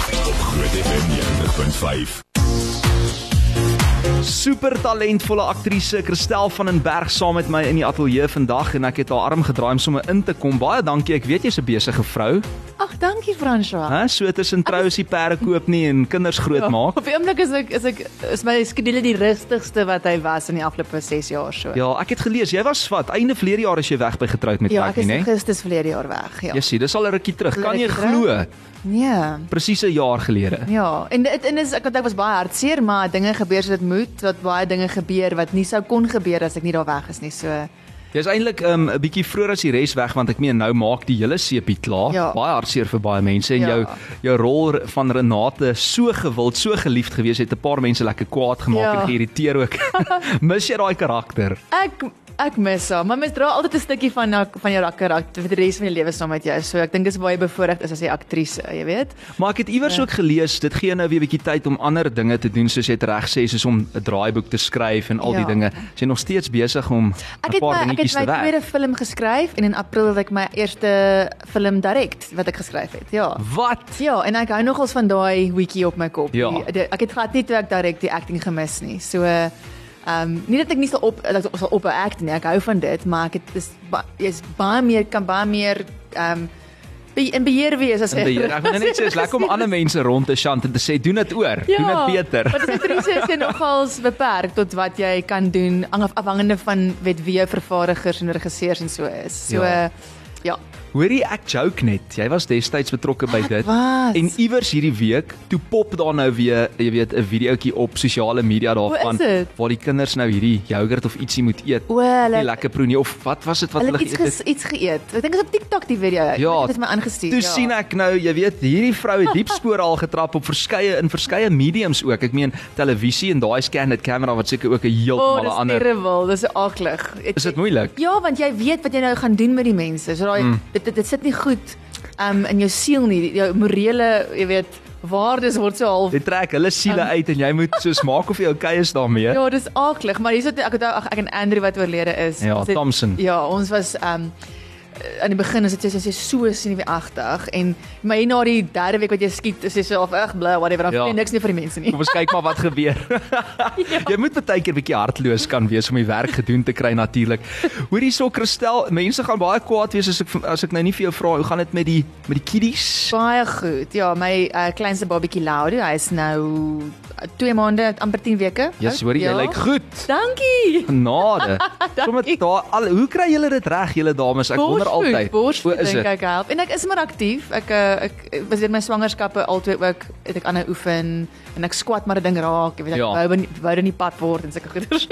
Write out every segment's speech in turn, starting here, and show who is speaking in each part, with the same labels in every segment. Speaker 1: Groot FM 90.5.
Speaker 2: Super talentvolle aktrise Christel van den Berg saam met my in die ateljee vandag en ek het haar arm gedraai om sommer in te kom. Baie dankie. Ek weet jy's 'n besige vrou,
Speaker 3: Ag, dankie François.
Speaker 2: hè? So tussen troues die perde koop nie en kinders
Speaker 3: Ja.
Speaker 2: grootmaak.
Speaker 3: Op die oomblik is ek is ek is my skedule die rustigste wat hy was in die afgelope 6 jaar so.
Speaker 2: Ja, ek het gelees jy was wat einde verlede jaar is jy weg by getroud met
Speaker 3: ja
Speaker 2: Jackie,
Speaker 3: ek is
Speaker 2: né?
Speaker 3: in Augustus verlede jaar weg, ja.
Speaker 2: Jessie, dis al 'n rukkie terug. Kan jy
Speaker 3: Rukkie terug.
Speaker 2: glo?
Speaker 3: Nee.
Speaker 2: Presies 'n jaar gelede.
Speaker 3: Ja, en dit en is ek onthou ek was baie hartseer, maar dinge gebeur soos dit moet, wat baie dinge gebeur wat nie sou kon gebeur as ek nie daar weg is nie. So
Speaker 2: Jy's eintlik um, 'n bietjie vroeër as die res weg want ek meen nou maak die hele seepie klaar.
Speaker 3: Ja.
Speaker 2: Baie hartseer vir baie mense en
Speaker 3: Ja.
Speaker 2: jou jou rol van Renate so gewild, so geliefd gewees het 'n paar mense lekker kwaad gemaak
Speaker 3: Ja.
Speaker 2: en geïrriteer ook. Mis jy daai karakter?
Speaker 3: ek ek mis haar, maar mens dra altyd 'n stukkie van haar- van jou karakter vir die res van jou lewe saam met jou. So ek dink dit is baie bevoordeel is as jy aktrise, jy weet.
Speaker 2: Maar ek het iewers
Speaker 3: Ja.
Speaker 2: ook gelees dit gee nou weer 'n bietjie tyd om ander dinge te doen soos jy dit reg sê soos om 'n draaiboek te skryf en al die
Speaker 3: Ja.
Speaker 2: dinge. Is Jy nog steeds besig om 'n
Speaker 3: Ek het
Speaker 2: paar
Speaker 3: my ek
Speaker 2: dingetjies te
Speaker 3: het my
Speaker 2: werk.
Speaker 3: tweede film geskryf en in April het ek my eerste film direk wat ek geskryf het. Ja.
Speaker 2: Wat?
Speaker 3: Ja, en ek hou nogals van daai hoekie op my kop.
Speaker 2: Ja.
Speaker 3: Die- die- Ek het glad nie toe ek direk die acting gemis nie. So ehm um, nie dat ek nie sal op dat ek sal op act nie. Ek hou van dit, maar ek het is ba- jy's baie meer kan baie meer ehm um, be, in beheer wees as
Speaker 2: In beheer. Ek moet nou net sê is lekker om ander mense rond te sjant en te sê doen dit oor,
Speaker 3: Ja,
Speaker 2: doen dit beter.
Speaker 3: Want as aktrise is jy nogals beperk tot wat jy kan doen af- afhangende van weet wie jou vervaardigers en regisseurs en so is. So
Speaker 2: Ja.
Speaker 3: ja. ja.
Speaker 2: Hoorie ek joke net. Jy was destyds betrokke by dit.
Speaker 3: was.
Speaker 2: En iewers hierdie week, toe pop daar nou weer, jy weet, 'n videoetjie op sosiale media daarvan
Speaker 3: is dit?
Speaker 2: waar die kinders nou hierdie joghurt of ietsie moet eet.
Speaker 3: O, hulle-
Speaker 2: nie lekker proenie of wat was dit wat hulle
Speaker 3: Hulle het iets
Speaker 2: geëet het?
Speaker 3: ges, iets geëet. Ek dink dit is op TikTok die video. Ek
Speaker 2: Ja,
Speaker 3: dink dit is my aangestuur.
Speaker 2: Toe ja. sien ek nou, jy weet, hierdie vrou het diep spore al getrap op verskeie in verskeie mediums ook. Ek meen televisie en daai scan-dit kamera wat seker ook 'n
Speaker 3: Oh,
Speaker 2: heeltemal 'n
Speaker 3: dis
Speaker 2: ander
Speaker 3: terrible. Dis aaklig. Het-
Speaker 2: Is dit moeilik?
Speaker 3: Ja, want jy weet wat jy nou gaan doen met die mense. So daai mm. dit, dit dit sit nie goed um in jou siel nie. Jou morele, jy weet, waardes word so half
Speaker 2: Dit trek hulle siele
Speaker 3: Um,
Speaker 2: uit en jy moet soos maak of jy oukei is daarmee.
Speaker 3: Ja, dis aaklig, maar hierso ek onthou ag, ek en Andrew wat oorlede is.
Speaker 2: Ja,
Speaker 3: ons het-
Speaker 2: Thompson.
Speaker 3: Ja, ons was ehm um, aan die begin is dit soos jy so sien wie agtig en maar hier na die derde week wat jy skiet is jy so of ag bly whatever, dan
Speaker 2: Ja.
Speaker 3: ja. vind jy niks nie vir die mense nie.
Speaker 2: Kom ons kyk maar wat gebeur. ja. Jy moet baie keer bietjie hartloos kan wees om die werk gedoen te kry natuurlik. Hoor hierso Christel, mense gaan baie kwaad wees as ek as ek nou nie vir jou vra hoe gaan dit met die met die kiddies?
Speaker 3: Baie goed. Ja, my uh, kleinste babatjie Laudo, hy is nou 2 maande, amper 10 weke.
Speaker 2: Ja, yes, hoor jy, jy lyk goed.
Speaker 3: Dankie.
Speaker 2: Genade. Sommige daar al hoe kry julle dit reg julle dames? Ek wonder altyd.
Speaker 3: Hoe
Speaker 2: is dit?
Speaker 3: Ek help en ek is maar aktief. Ek eh, ek eh, was dit my swangerskappe altyd ook het ek aanhou oefen en ek squat maar 'n ding raak, jy weet ek
Speaker 2: Ja.
Speaker 3: wou nie- wou dit nie pad word en sulke goeders.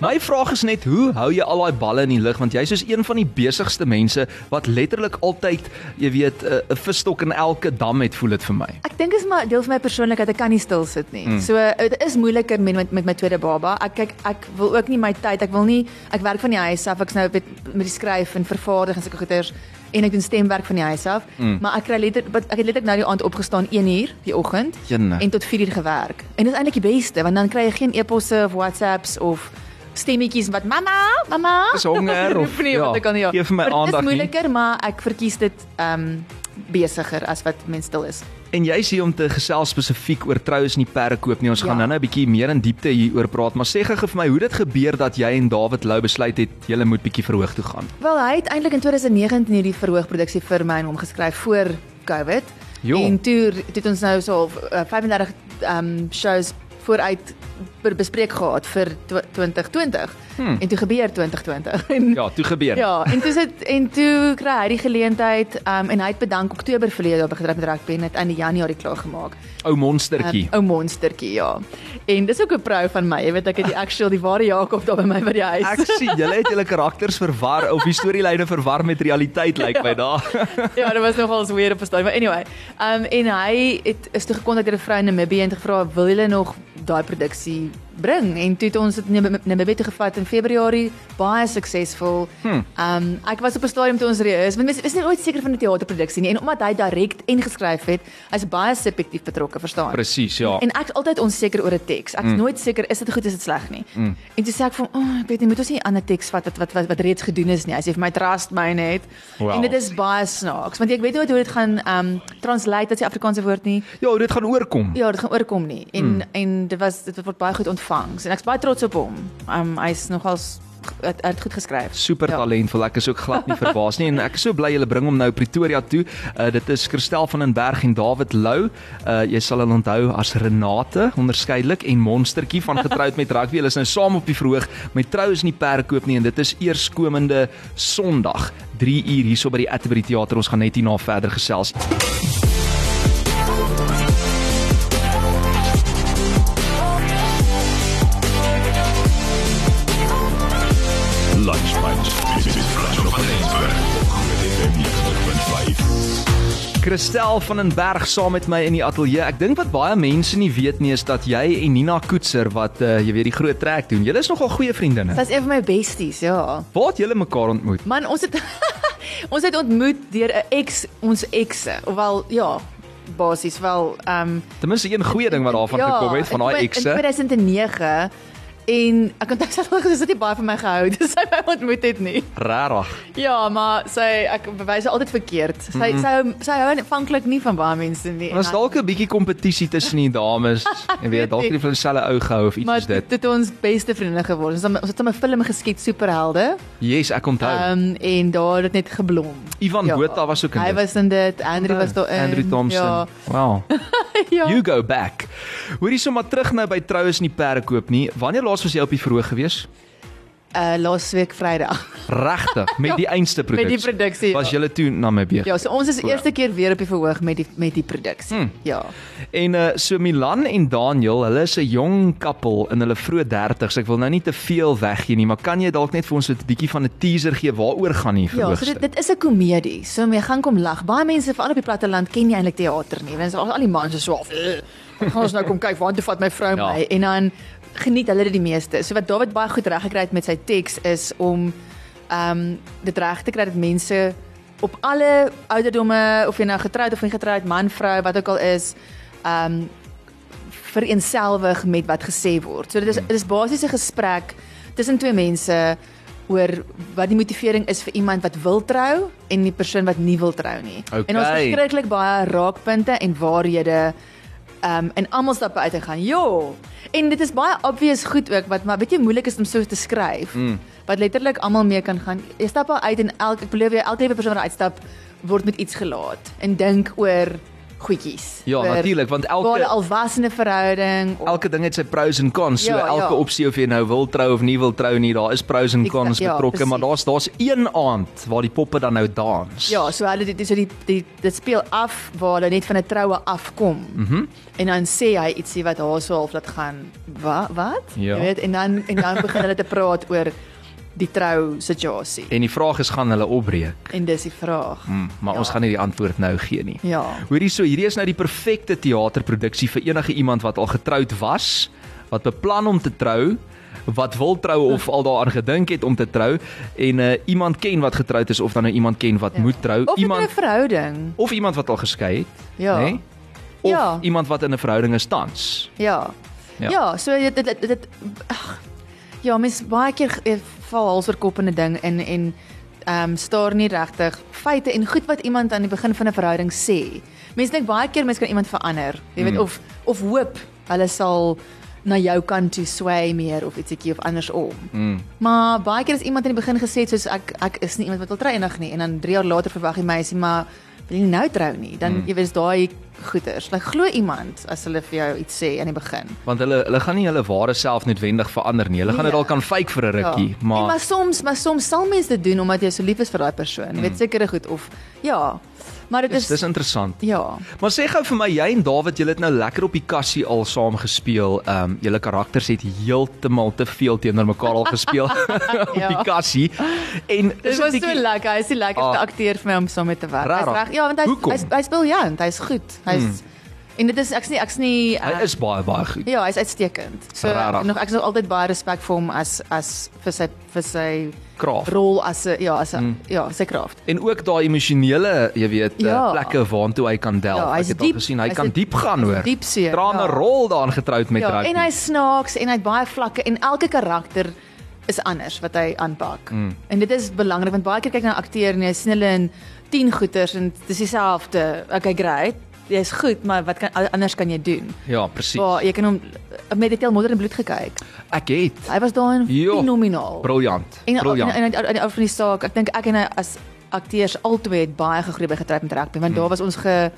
Speaker 2: My vraag is net hoe hou jy al daai balle in die lug want jy's soos een van die besigste mense wat letterlik altyd, jy weet, 'n 'n visstok in elke dam het, voel dit vir my.
Speaker 3: Ek dink is maar deel van my persoonlikheid. Ek kan nie stil sit nie.
Speaker 2: Hmm.
Speaker 3: Mm. So eh, dit is moeiliker met met, met my tweede baba. Ek kyk ek wil ook nie my tyd, ek wil nie ek werk van die huis af. Ek's nou met met die skryf en vervaardig en sulke goeders en ek doen stemwerk van die huis af.
Speaker 2: Hmm.
Speaker 3: Mm. Maar ek kry letter wat- ek het letterlik nou die aand opgestaan 1uur die oggend
Speaker 2: Jenne.
Speaker 3: en tot 4uur gewerk. En dit is eintlik die beste want dan kry jy geen e-posse of WhatsApps of stemmetjies wat mamma, mamma.
Speaker 2: Is honger of-
Speaker 3: Roep nie,
Speaker 2: ja,
Speaker 3: want ek kan nie. Ja.
Speaker 2: gee vir my
Speaker 3: Maar dit
Speaker 2: aandag
Speaker 3: Is
Speaker 2: nie.
Speaker 3: moeiliker, maar ek verkies dit ehm um, besigger as wat mens stil is.
Speaker 2: En jy is hier om te gesels spesifiek oor troues en die perdekoop nie. Ons ja. gaan
Speaker 3: Ja.
Speaker 2: nou-nou 'n bietjie meer in diepte hieroor praat, maar sê gou vir my hoe dit gebeur dat jy en David Lou besluit het julle moet bietjie verhoog toe gaan.
Speaker 3: Wel, hy het eintlik in 2019 hierdie verhoogproduksie vir my en hom geskryf voor COVID.
Speaker 2: Jo.
Speaker 3: En toe toe het ons nou so half, uh, 35 um shows vooruit be- bespreek gehad vir tw- 2020. Hmm. En toe gebeur 2020. En
Speaker 2: Ja, toe gebeur.
Speaker 3: Ja, en toe sit en toe kry hy die geleentheid um en hy het bedank Oktober verlede jaar begryp met rugby en het aan die Januarie klaar gemaak.
Speaker 2: Ou monstertjie.
Speaker 3: Um, ou monstertjie, ja. En dis ook 'n prou van my. Jy weet ek het die actual die ware Jakob daar by my by die huis.
Speaker 2: Ehm, Ek sien julle het julle karakters verwar of die storielyne verwar met realiteit lyk like my daar.
Speaker 3: ja, dit was nogal weer op 'n stadium. Maar anyway, ehm um, en hy het is toe gekontak deur 'n vrou in Namibië en het gevra, "Wil julle nog daai produksie bring en toe het ons dit na Mbebe toe gevat in Februarie baie suksesvol. Ehm um, ek was op 'n stadium toe ons reus, want mense is nie ooit seker van 'n teaterproduksie nie en omdat hy direk en geskryf het, hy's baie subjektief betrokke, verstaan?
Speaker 2: Presies, ja.
Speaker 3: En ek's altyd onseker oor 'n teks. Ek's nooit seker is dit goed is dit sleg nie. En toe sê ek van, "O, oh, ek weet nie, moet ons nie 'n ander teks vat wat wat wat, wat reeds gedoen is nie." Hy sê vir my trust my net.
Speaker 2: Wow.
Speaker 3: En dit is baie snaaks, want ek weet nooit hoe dit gaan ehm um, translate as die Afrikaanse woord nie.
Speaker 2: Ja, dit gaan oorkom.
Speaker 3: Ja, dit gaan oorkom nie. En mm. en dit was dit word baie goed ontvang. En ek's baie trots op hom. Um hy's nogals hy het hy het goed geskryf.
Speaker 2: Super
Speaker 3: Ja.
Speaker 2: talentvol. Ek is ook glad nie verbaas nie en ek is so bly julle bring hom nou Pretoria toe. Uh, dit is Christel van den Berg en David Lou. Uh, jy sal hulle onthou as Renate onderskeidelik en Monstertjie van getroud met rugby. Hulle is nou saam op die verhoog met trou is nie perkoop nie en dit is eerskomende Sondag 3 uur hierso by die Atterbury Theater. Ons gaan net hierna verder gesels.
Speaker 1: Lunch Punch met Frans van Rensburg op Groot FM 90.5.
Speaker 2: Christel van den Berg saam met my in die ateljee. Ek dink wat baie mense nie weet nie is dat jy en Nina Koetser wat uh, jy weet die groot trek doen. Julle is nogal goeie vriendinne.
Speaker 3: Sy's een van my besties, ja.
Speaker 2: Waar het julle mekaar ontmoet?
Speaker 3: Man, ons het ons het ontmoet deur 'n ex, ons ekse, of wel ja, basies wel um
Speaker 2: Ten minste een goeie ding wat daarvan ja, gekom het van daai
Speaker 3: in- In
Speaker 2: ekse.
Speaker 3: 2009 en ek onthou sy het dit nie baie van my gehou, dis sy my ontmoet het nie.
Speaker 2: Regtig.
Speaker 3: Ja, maar sy ek bewys altyd verkeerd. Sy mm -hmm. sy sy hou aanvanklik nie van baie mense nie. En
Speaker 2: Was
Speaker 3: dan-
Speaker 2: Mhm. dalk 'n bietjie kompetisie tussen die dames. Jy weet, dalk het hulle vir dieselfde ou gehou of iets
Speaker 3: Maar
Speaker 2: is
Speaker 3: dit
Speaker 2: dit.
Speaker 3: het ons beste vriende geword. Ons het ons het 'n film geskiet superhelde.
Speaker 2: Yes, ek onthou.
Speaker 3: Ehm
Speaker 2: Um,
Speaker 3: um, en daar het dit net geblom.
Speaker 2: Ivan ja, Botha was ook in
Speaker 3: Hy
Speaker 2: dit.
Speaker 3: was in dit. Andrew was daarin.
Speaker 2: Andrew Thompson.
Speaker 3: Ja.
Speaker 2: Ja. Wow.
Speaker 3: ja.
Speaker 2: You go back. Hoorie sommer terug nou by troues in die perdekoop nie. Wanneer laas was jy op die verhoog gewees?
Speaker 3: Uh laas week Vrydag
Speaker 2: Regtig, met die einste
Speaker 3: met
Speaker 2: produksie.
Speaker 3: die ja. produksie.
Speaker 2: Was jy toe na my beeg?
Speaker 3: Ja, so ons is die eerste keer weer op die verhoog met die met die produksie.
Speaker 2: Hmm.
Speaker 3: Ja.
Speaker 2: En uh, so Milan en Daniel, hulle is 'n jong koppel in hulle vroeë 30s. Ek wil nou nie te veel weggee nie, maar kan jy dalk net vir ons so 'n bietjie van 'n teaser gee waaroor gaan hier
Speaker 3: Ja, so
Speaker 2: verhoogstuk?
Speaker 3: dit, dit is 'n komedie. So jy gaan kom lag. Baie mense veral op die platteland ken nie eintlik teater nie. Want al al die mans is so af. "Ugh, Gaan ons nou kom kyk waar toe vat my
Speaker 2: Ja.
Speaker 3: vrou ja. my en dan geniet hulle dit die meeste. So wat David baie goed reg gekry het met sy teks is om ehm um, dit reg te kry dat mense op alle ouderdomme of jy nou getroud of nie getroud, man, vrou, wat ook al is, ehm um, vereenselwig met wat gesê word. So dit
Speaker 2: Hmm.
Speaker 3: is dit is basies 'n gesprek tussen twee mense oor wat die motivering is vir iemand wat wil trou en die persoon wat nie wil trou nie. En ons het
Speaker 2: Okay.
Speaker 3: verskriklik baie raakpunte en waarhede um en almal stappe uit te gaan. Jo. En dit is baie obvious goed ook wat maar weet jy moeilik is om so te skryf.
Speaker 2: Hmm.
Speaker 3: Mm. Wat letterlik almal mee kan gaan. Jy stap al uit en elk ek belowe jou elke liewe persoon wat uitstap word met iets gelaat en dink oor goedjies.
Speaker 2: Ja,
Speaker 3: Oor
Speaker 2: natuurlik, want elke-
Speaker 3: waar 'n alwassene verhouding of
Speaker 2: Elke ding het sy pros en cons. So ja,
Speaker 3: Ja,
Speaker 2: elke ja.
Speaker 3: ja.
Speaker 2: opsie of jy nou wil trou of nie wil trou nie, daar is pros en
Speaker 3: Exact,
Speaker 2: cons
Speaker 3: ja,
Speaker 2: betrokke, ja, maar daar's
Speaker 3: precies.
Speaker 2: daar's een aand waar die poppe dan nou dans.
Speaker 3: Ja, so hulle dit so die die dit speel af waar hulle net van 'n troue afkom. Mhm. Mm en dan sê hy ietsie wat haar so half laat gaan. Wat wat?
Speaker 2: Ja.
Speaker 3: Jy weet en dan en dan begin hulle te praat oor die trou situasie.
Speaker 2: En die vraag is gaan hulle opbreek?
Speaker 3: En dis die vraag.
Speaker 2: Hm, maar ja.
Speaker 3: Ja.
Speaker 2: ons gaan nie die antwoord nou gee nie.
Speaker 3: Ja.
Speaker 2: Hoorie so, hierdie is nou die perfekte teaterproduksie vir enige iemand wat al getroud was, wat beplan om te trou, wat wil trou of al daaraan gedink het om te trou en uh, iemand ken wat getroud is of dan nou iemand ken wat ja. moet trou,
Speaker 3: Of iemand 'n
Speaker 2: iemand Nee?
Speaker 3: verhouding.
Speaker 2: of iemand wat al geskei het,
Speaker 3: Ja.
Speaker 2: né? Of
Speaker 3: Ja.
Speaker 2: iemand wat in 'n verhouding is tans.
Speaker 3: Ja.
Speaker 2: Ja.
Speaker 3: Ja, ja so dit dit dit, dit ag, ja, mens baie keer eh, val hals oor kop in 'n ding en en ehm um, staar nie regtig feite en goed wat iemand aan die begin van 'n verhouding sê. Mense dink baie keer mense kan iemand verander, jy weet
Speaker 2: Mm.
Speaker 3: mm. of of hoop hulle sal na jou kant toe sway meer of ietsiekie of andersom.
Speaker 2: Mm.
Speaker 3: Maar baie keer as iemand aan die begin gesê het soos ek ek is nie iemand wat wil trou eendag nie en dan 3 jaar later verwag die meisie maar wil jy nou trou nie, dan
Speaker 2: Hmm.
Speaker 3: mm. jy weet is daai goeters. Like glo iemand as hulle vir jou iets sê aan die begin.
Speaker 2: Want hulle hulle gaan nie hulle ware self noodwendig verander nie. Hulle gaan dit
Speaker 3: Nee.
Speaker 2: dalk kan fake vir 'n rukkie, ja.
Speaker 3: en,
Speaker 2: maar
Speaker 3: maar soms maar soms sal mense dit doen omdat jy so lief is vir daai persoon. Mm. Weet sekere goed of ja. Maar dit
Speaker 2: Hmm. dis
Speaker 3: is,
Speaker 2: dis interessant.
Speaker 3: ja.
Speaker 2: Maar sê gou vir my, jy en Dawid, julle het nou lekker op die kassie al saam gespeel. Ehm um, julle karakters het heeltemal te veel teenoor mekaar al gespeel op
Speaker 3: Ja.
Speaker 2: die kassie. En
Speaker 3: Dit
Speaker 2: is
Speaker 3: was
Speaker 2: dit
Speaker 3: so lekker. Hy's die lekkerste
Speaker 2: Ah.
Speaker 3: akteur vir my om saam met te werk. Hy's
Speaker 2: Rarig.
Speaker 3: reg. Ja, want hy's
Speaker 2: Hoekom?
Speaker 3: hy's hy speel ja, hy's goed. Hy's En dit is ek's nie ek's nie
Speaker 2: Hy
Speaker 3: uh,
Speaker 2: is baie baie goed.
Speaker 3: Ja, hy's uitstekend. So
Speaker 2: Rarig.
Speaker 3: nog ek's nog altyd baie respek vir hom as as vir sy vir sy
Speaker 2: Kraaf.
Speaker 3: rol as 'n ja, as 'n
Speaker 2: Mm.
Speaker 3: ja, sy kraft.
Speaker 2: En ook daai emosionele, jy weet, ja.
Speaker 3: Ja.
Speaker 2: plekke waartoe hy kan delf.
Speaker 3: Ja,
Speaker 2: Ek
Speaker 3: hy's
Speaker 2: het al
Speaker 3: diep,
Speaker 2: gesien, hy
Speaker 3: hy's
Speaker 2: kan
Speaker 3: een
Speaker 2: diep gaan hoor.
Speaker 3: diep seer,
Speaker 2: Drama
Speaker 3: ja.
Speaker 2: rol daarin getroud met
Speaker 3: Ja,
Speaker 2: rugby.
Speaker 3: en hy snaaks en hy het baie vlakke en elke karakter is anders wat hy aanpak. Mm. En dit is belangrik want baie keer kyk na akteur en jy sien hulle in 10 goeters en dis dieselfde. Okay, great. Jy's goed, maar wat kan anders kan jy doen?
Speaker 2: Ja, presies.
Speaker 3: Waar jy kan hom met dit heel modder en bloed gekyk.
Speaker 2: Ek het
Speaker 3: Hy was daarin
Speaker 2: Jo.
Speaker 3: fenomenaal.
Speaker 2: briljant.
Speaker 3: En en
Speaker 2: Briljant.
Speaker 3: en uit- uit- uit van die saak, ek dink ek en hy as akteurs albei het baie gegroei by getroud met rugby want
Speaker 2: Hmm.
Speaker 3: daar was ons ge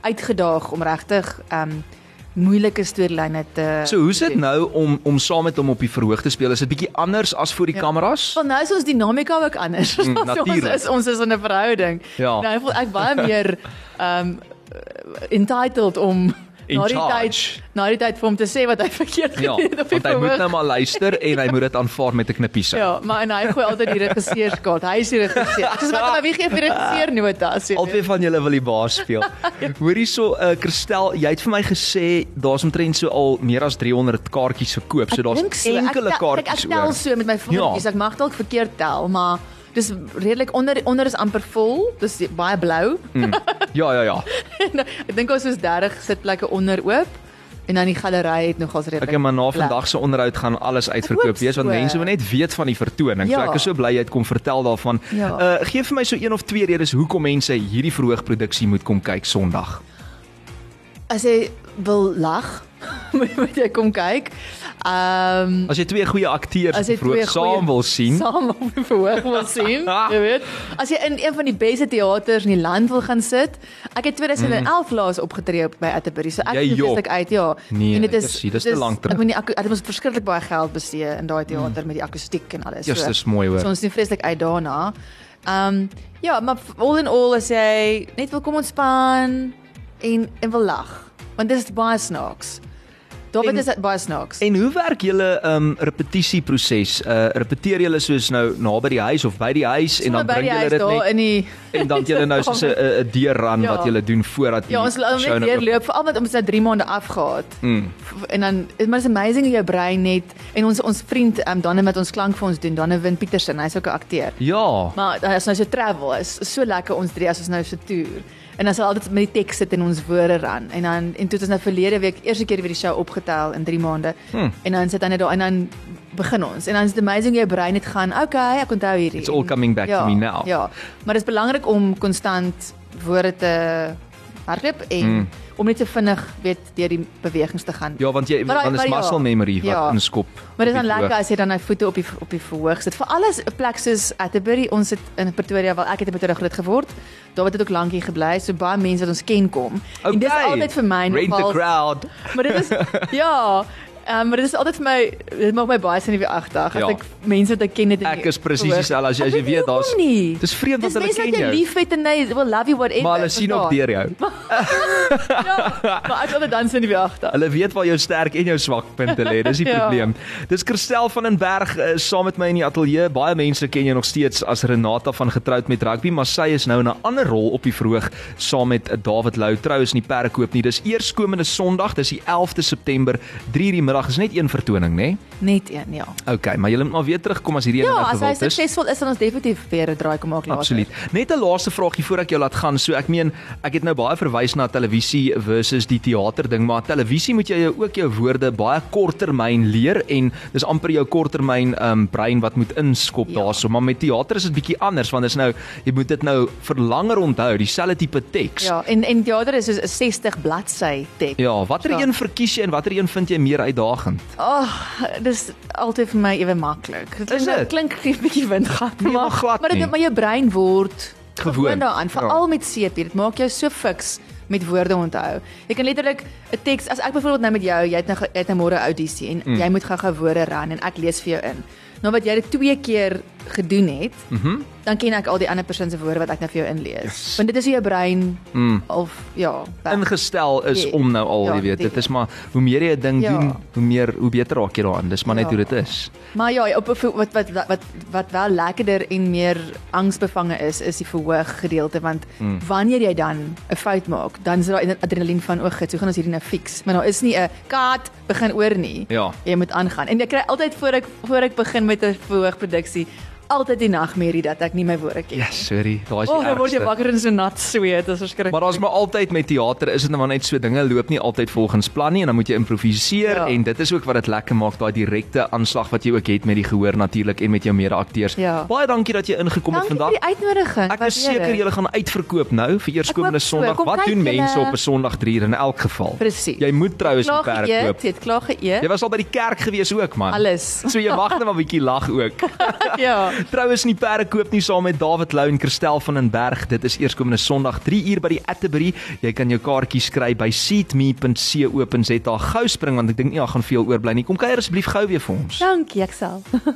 Speaker 3: uitgedaag om regtig um moeilike storielyne te
Speaker 2: So hoe's dit nou om om saam met hom op die verhoog te speel? Is dit bietjie anders as voor die kameras?
Speaker 3: Want nou is ons dinamika ook anders. Mm, ons
Speaker 2: Hmm, natuurlijk.
Speaker 3: is ons is in 'n verhouding.
Speaker 2: Ja.
Speaker 3: Nou voel ek baie meer um entitled om
Speaker 2: In
Speaker 3: na die
Speaker 2: charge.
Speaker 3: tyd Nee, na die tyd vir hom te sê wat hy verkeerd
Speaker 2: Ja,
Speaker 3: gedoen het op die
Speaker 2: want hy moet
Speaker 3: verhoog.
Speaker 2: nou maar luister en hy moet dit aanvaar met 'n knippies.
Speaker 3: Ja, maar en hy gooi altyd die regisseurskaart. Hy is die regisseur. Ek sê maar maar wie gee vir die regisseur notas? jy weet?
Speaker 2: Albei van julle wil die baas speel.
Speaker 3: Ja.
Speaker 2: Hoor hierso, eh uh, Christel, jy het vir my gesê daar's omtrent so al meer as 300 kaartjies verkoop. So
Speaker 3: dink
Speaker 2: daar's
Speaker 3: so. Ek
Speaker 2: enkele
Speaker 3: tel-
Speaker 2: kaartjies
Speaker 3: Ek, ek tel
Speaker 2: oor.
Speaker 3: so met my vingertjies.
Speaker 2: Ja.
Speaker 3: Ja. Ek mag dalk verkeerd tel, maar dis redelik onder onder is amper vol. Dis baie blou.
Speaker 2: Ja, ja, ja.
Speaker 3: ek dink ons is 30 sitplekke onder oop en dan die galery het nogals redelik.
Speaker 2: Ek en maar na
Speaker 3: plek.
Speaker 2: vandag se onderhoud gaan alles
Speaker 3: Ek
Speaker 2: uitverkoop
Speaker 3: hoop
Speaker 2: wees want
Speaker 3: so.
Speaker 2: mense wil net weet van die vertoning. Ja.
Speaker 3: Ja.
Speaker 2: So ek is so bly jy het kom vertel daarvan.
Speaker 3: Ja.
Speaker 2: Uh gee vir my so een of twee redes hoekom mense hierdie verhoogproduksie moet kom kyk Sondag.
Speaker 3: As jy wil lag, moet moet jy kom kyk. Ehm um,
Speaker 2: As jy twee goeie akteurs
Speaker 3: As jy twee
Speaker 2: vroeg saam
Speaker 3: goeie-
Speaker 2: wil sien.
Speaker 3: saam op die verhoog wil sien, jy weet. As jy in een van die beste teaters in die land wil gaan sit. Ek het 2011 mm. laas opgetree op by Atterbury, so ek
Speaker 2: Jy
Speaker 3: is
Speaker 2: jok.
Speaker 3: feeslik uit, ja.
Speaker 2: Nee, jessie, dis te lang terug.
Speaker 3: Ek weet nie ek het ons verskriklik baie geld bestee in daai teater mm. met die akoestiek en alles.
Speaker 2: Yes, dis mooi, hoor.
Speaker 3: So ons is nie vreeslik uit daarna. Ehm um, ja, maar all in all as jy net wil kom ontspan en en wil lag, want dit is baie snaaks.
Speaker 2: En-
Speaker 3: David is baie snaaks.
Speaker 2: En hoe werk julle um repetisieproses? Uh repeteer julle soos nou naby die huis of by die huis en dan
Speaker 3: Sommer by
Speaker 2: bring
Speaker 3: die
Speaker 2: julle
Speaker 3: huis
Speaker 2: dit
Speaker 3: daar
Speaker 2: net
Speaker 3: in die
Speaker 2: en dan het julle nou soos 'n 'n 'n deurran
Speaker 3: Ja.
Speaker 2: wat julle doen voordat
Speaker 3: Ja, ons laat hom net
Speaker 2: nou oop-
Speaker 3: deurloop veral want ons het nou 3 maande afgehaat. Mm.
Speaker 2: Hmm.
Speaker 3: En dan maar is amazing hoe jou brein net en ons ons vriend um, Danne met ons klank vir ons doen, Danne Win Petersen, hy's ook 'n akteur.
Speaker 2: Ja.
Speaker 3: Maar hy is nou so travel, is so lekker ons drie as ons nou so toer. En dan sal altyd met die teks sit en ons woorde ran. En dan en toe het ons nou verlede week eerste keer weer die show opgetel in 3 maande. Hmm. En dan sit hy net daar en dan begin ons. En dan is dit amazing hoe jou brein net gaan, okay, ek onthou hierdie.
Speaker 2: It's all coming back
Speaker 3: ja,
Speaker 2: to me now.
Speaker 3: Ja. Maar dit is belangrik om konstant woorde te hardloop en mm. om net so vinnig weet deur die bewegings te gaan.
Speaker 2: Ja, want jy
Speaker 3: Maar daai-
Speaker 2: dan is
Speaker 3: maar ja.
Speaker 2: muscle memory wat
Speaker 3: Ja.
Speaker 2: inskop.
Speaker 3: Maar
Speaker 2: op
Speaker 3: dit is dan
Speaker 2: die
Speaker 3: lekker
Speaker 2: verhoog.
Speaker 3: as jy dan nou voete op die op die verhoog sit. Vir alles 'n plek soos Atterbury, ons sit in Pretoria waar ek het in Pretoria groot geword. Daar het dit ook lankie gebly, so baie mense wat ons ken kom. En dis
Speaker 2: Okay.
Speaker 3: altyd vir my
Speaker 2: Rate the
Speaker 3: nogals-
Speaker 2: crowd.
Speaker 3: Maar dit is ja, um, maar dit is altyd vir my dit maak my baie sin in die agdag as
Speaker 2: Ja.
Speaker 3: ja. ek mense wat ek ken net in
Speaker 2: Ek
Speaker 3: die
Speaker 2: is presies
Speaker 3: verhoog.
Speaker 2: dieselfde as jy as jy
Speaker 3: Nee, Ek nie
Speaker 2: weet daar's
Speaker 3: hoekom nie.
Speaker 2: Dis vreemd want
Speaker 3: Dis
Speaker 2: hulle
Speaker 3: mense
Speaker 2: ken
Speaker 3: wat jy
Speaker 2: jou.
Speaker 3: liefhet en they will love you whatever.
Speaker 2: Maar hulle sien ook
Speaker 3: verstaan?
Speaker 2: deur jou.
Speaker 3: Ja, maar ek wil dit dan sien in die agdag.
Speaker 2: Hulle weet waar jou sterk en jou swakpunte lê. Dis die
Speaker 3: Ja.
Speaker 2: probleem. Dis Christel van den Berg uh, saam met my in die ateljee. Baie mense ken jou nog steeds as Renata van Getroud met Rugby, maar sy is nou in 'n ander rol op die verhoog saam met uh, David Lou. Trouens nie perdekoop nie. Dis eerskomende Sondag, dis die 11de September, 3:00 die middag. Is net een vertoning, né? Nee?
Speaker 3: Net een, ja.
Speaker 2: OK, maar jy moet maar weer terugkom as hierdie een
Speaker 3: Ja,
Speaker 2: nou
Speaker 3: as hy
Speaker 2: gewild is.
Speaker 3: suksesvol is, dan ons definitief weer 'n draai kom maak later.
Speaker 2: Absoluut. Net 'n laaste vraagie voor ek jou laat gaan. So ek meen, ek het nou baie verwys na televisie versus die teater ding, maar televisie moet jy jou ook jou woorde baie korttermyn leer en dis amper jou korttermyn um brein wat moet inskop ja.
Speaker 3: Ja.
Speaker 2: daarso, maar met teater is dit bietjie anders want dis nou jy moet dit nou vir langer onthou, dieselfde tipe teks.
Speaker 3: Ja, en en teater is soos 'n 60 bladsy teks. Ja.
Speaker 2: Ja, watter
Speaker 3: Ja.
Speaker 2: een verkies jy en watter een vind jy meer uitdagend?
Speaker 3: Ag, oh, dis altyd vir my ewe maklik. Dit
Speaker 2: Is
Speaker 3: klink-
Speaker 2: dit?
Speaker 3: klink 'n bietjie windgat,
Speaker 2: Nee, maar glad
Speaker 3: maar
Speaker 2: nie.
Speaker 3: dit maar jou brein word
Speaker 2: Gewoon.
Speaker 3: daaraan,
Speaker 2: Ja.
Speaker 3: veral met CP. Dit maak jou so fiks met woorde onthou. Jy kan letterlik 'n teks as ek byvoorbeeld nou met jou, jy het nou ge- jy het nou môre 'n audisie en mm. jy moet gou-gou woorde ran en ek lees vir jou in. nou wat jy dit twee keer gedoen het, dan ken ek al die ander persoon se woorde wat ek nou vir jou inlees.
Speaker 2: Mhm. Yes. Mm.
Speaker 3: Want dit is hoe jou brein of ja, werk.
Speaker 2: ingestel is
Speaker 3: Ja.
Speaker 2: om nou al,
Speaker 3: Ja,
Speaker 2: jy weet. Dit
Speaker 3: definitief.
Speaker 2: is maar hoe meer jy 'n ding
Speaker 3: Ja.
Speaker 2: doen, hoe meer hoe beter raak jy daaraan. Dis maar net
Speaker 3: Ja.
Speaker 2: hoe dit is.
Speaker 3: Maar ja, op wat wat wat wat wel lekkerder en meer angsbevange is, is die verhoog gedeelte want
Speaker 2: Hmm.
Speaker 3: mm.
Speaker 2: Hm.
Speaker 3: wanneer jy dan 'n fout maak, dan is daar adrenalien van o, gits, hoe gaan ons hierdie nou fix? Maar daar is nie 'n kat begin oor nie.
Speaker 2: Ja.
Speaker 3: Jy moet aangaan. En ek kry altyd voor ek voor ek begin met 'n verhoogproduksie, altyd die nagmerrie dat ek nie my woorde ken.
Speaker 2: Ja, sorry. Daar is
Speaker 3: O,
Speaker 2: die
Speaker 3: oh, dan word jy
Speaker 2: ergste.
Speaker 3: wakker en so nat sweet, dis verskriklik.
Speaker 2: Maar daar's maar altyd met teater is dit nou maar net so dinge loop nie altyd volgens plan nie en dan moet jy improviseer ja.
Speaker 3: Ja.
Speaker 2: en dit is ook wat dit lekker maak daai direkte aanslag wat jy ook het met die gehoor natuurlik en met jou mede-akteurs.
Speaker 3: Ja.
Speaker 2: Baie dankie dat jy ingekom het
Speaker 3: Dankie vir
Speaker 2: vandag.
Speaker 3: die
Speaker 2: Ek
Speaker 3: uitnodiging.
Speaker 2: is
Speaker 3: waardeer
Speaker 2: seker
Speaker 3: dit.
Speaker 2: julle gaan uitverkoop nou vir eerskomende
Speaker 3: hoop so.
Speaker 2: Sondag.
Speaker 3: Kom
Speaker 2: Wat
Speaker 3: kyk
Speaker 2: doen
Speaker 3: julle.
Speaker 2: mense op 'n Sondag 3 in elk geval?
Speaker 3: Presies.
Speaker 2: Jy moet trouens die
Speaker 3: klaar
Speaker 2: perde koop.
Speaker 3: geëet, jy het klaar geëet.
Speaker 2: Jy was al by die kerk gewees ook man.
Speaker 3: Alles.
Speaker 2: So jy mag net maar 'n bietjie lag ook.
Speaker 3: ja.
Speaker 2: Trouwens nie perde koop nie saam met David Lou en Christel van den Berg. Dit is eerskomende Sondag 3 uur by die Atterbury. Jy kan jou kaartjies kry by seatme.co.za. Gou spring want ek dink nie daar gaan veel oorbly nie. Kom kuier asseblief gou weer vir ons.
Speaker 3: Dankie, ek sal.
Speaker 4: What's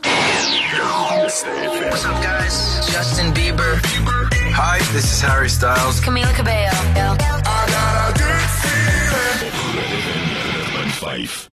Speaker 4: up, guys? Justin Bieber. Hi, this is Harry Styles.
Speaker 5: Camila Cabello.
Speaker 1: Groot FM 90.5